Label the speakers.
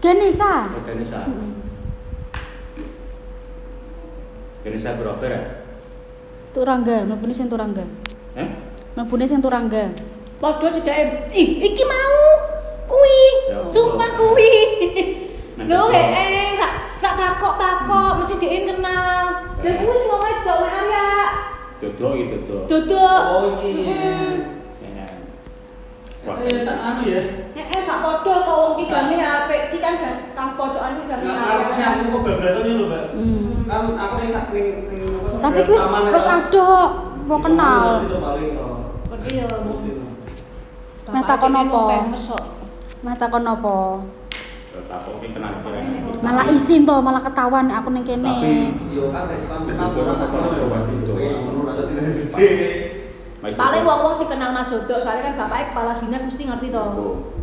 Speaker 1: Ganesa.
Speaker 2: Organisa. Organisa beroper ya?
Speaker 1: Turangga, mlebune sing Turangga.
Speaker 2: Eh?
Speaker 1: Mlebune sing Turangga.
Speaker 3: Padha cedake ih iki mau kuwi.
Speaker 2: Ya Allah.
Speaker 3: Sumpah kuwi.
Speaker 2: Nah,
Speaker 3: Lho
Speaker 2: betul.
Speaker 3: eh rak rak takok-takok mesti dhek kenal. Lah kuwi sing ngomongnya juga wae ya.
Speaker 2: Dodok iki dodok.
Speaker 3: Duduk.
Speaker 4: Oh iya.
Speaker 2: Ya. Wah.
Speaker 4: Eh, sak anu ya.
Speaker 3: Heeh sak padha kok wong iki gane apik iki kan gang- kang pojokan iki gane
Speaker 4: Nah, aku sih
Speaker 3: apik.
Speaker 4: aku kok bablasan ini lho, Mbak.
Speaker 1: Hmm.
Speaker 4: Kan aku yang sak ning ning apa,
Speaker 1: Tapi
Speaker 4: berapa
Speaker 1: wis
Speaker 4: aman,
Speaker 1: wis
Speaker 4: ya.
Speaker 1: adoh mau kenal.
Speaker 4: Itu paling toh.
Speaker 3: Kok iya.
Speaker 1: Nah, takon
Speaker 3: Bapak iki
Speaker 1: apa?
Speaker 3: pengen mesok.
Speaker 1: Mah takon apa?
Speaker 2: Takok iki kenal kira.
Speaker 1: Malah isin to, malah ketahuan aku ning kene.
Speaker 2: Tapi-
Speaker 4: Yo kan kayak kan
Speaker 2: Itu orang apa, ya, pasti itu.
Speaker 4: Wis, menurut rasa tidak
Speaker 2: Mike
Speaker 3: Paling
Speaker 2: Dodok.
Speaker 3: wong-wong sing kenal Mas Dodok soalnya kan bapaknya kepala dinas mesti ngerti to.
Speaker 2: Oh.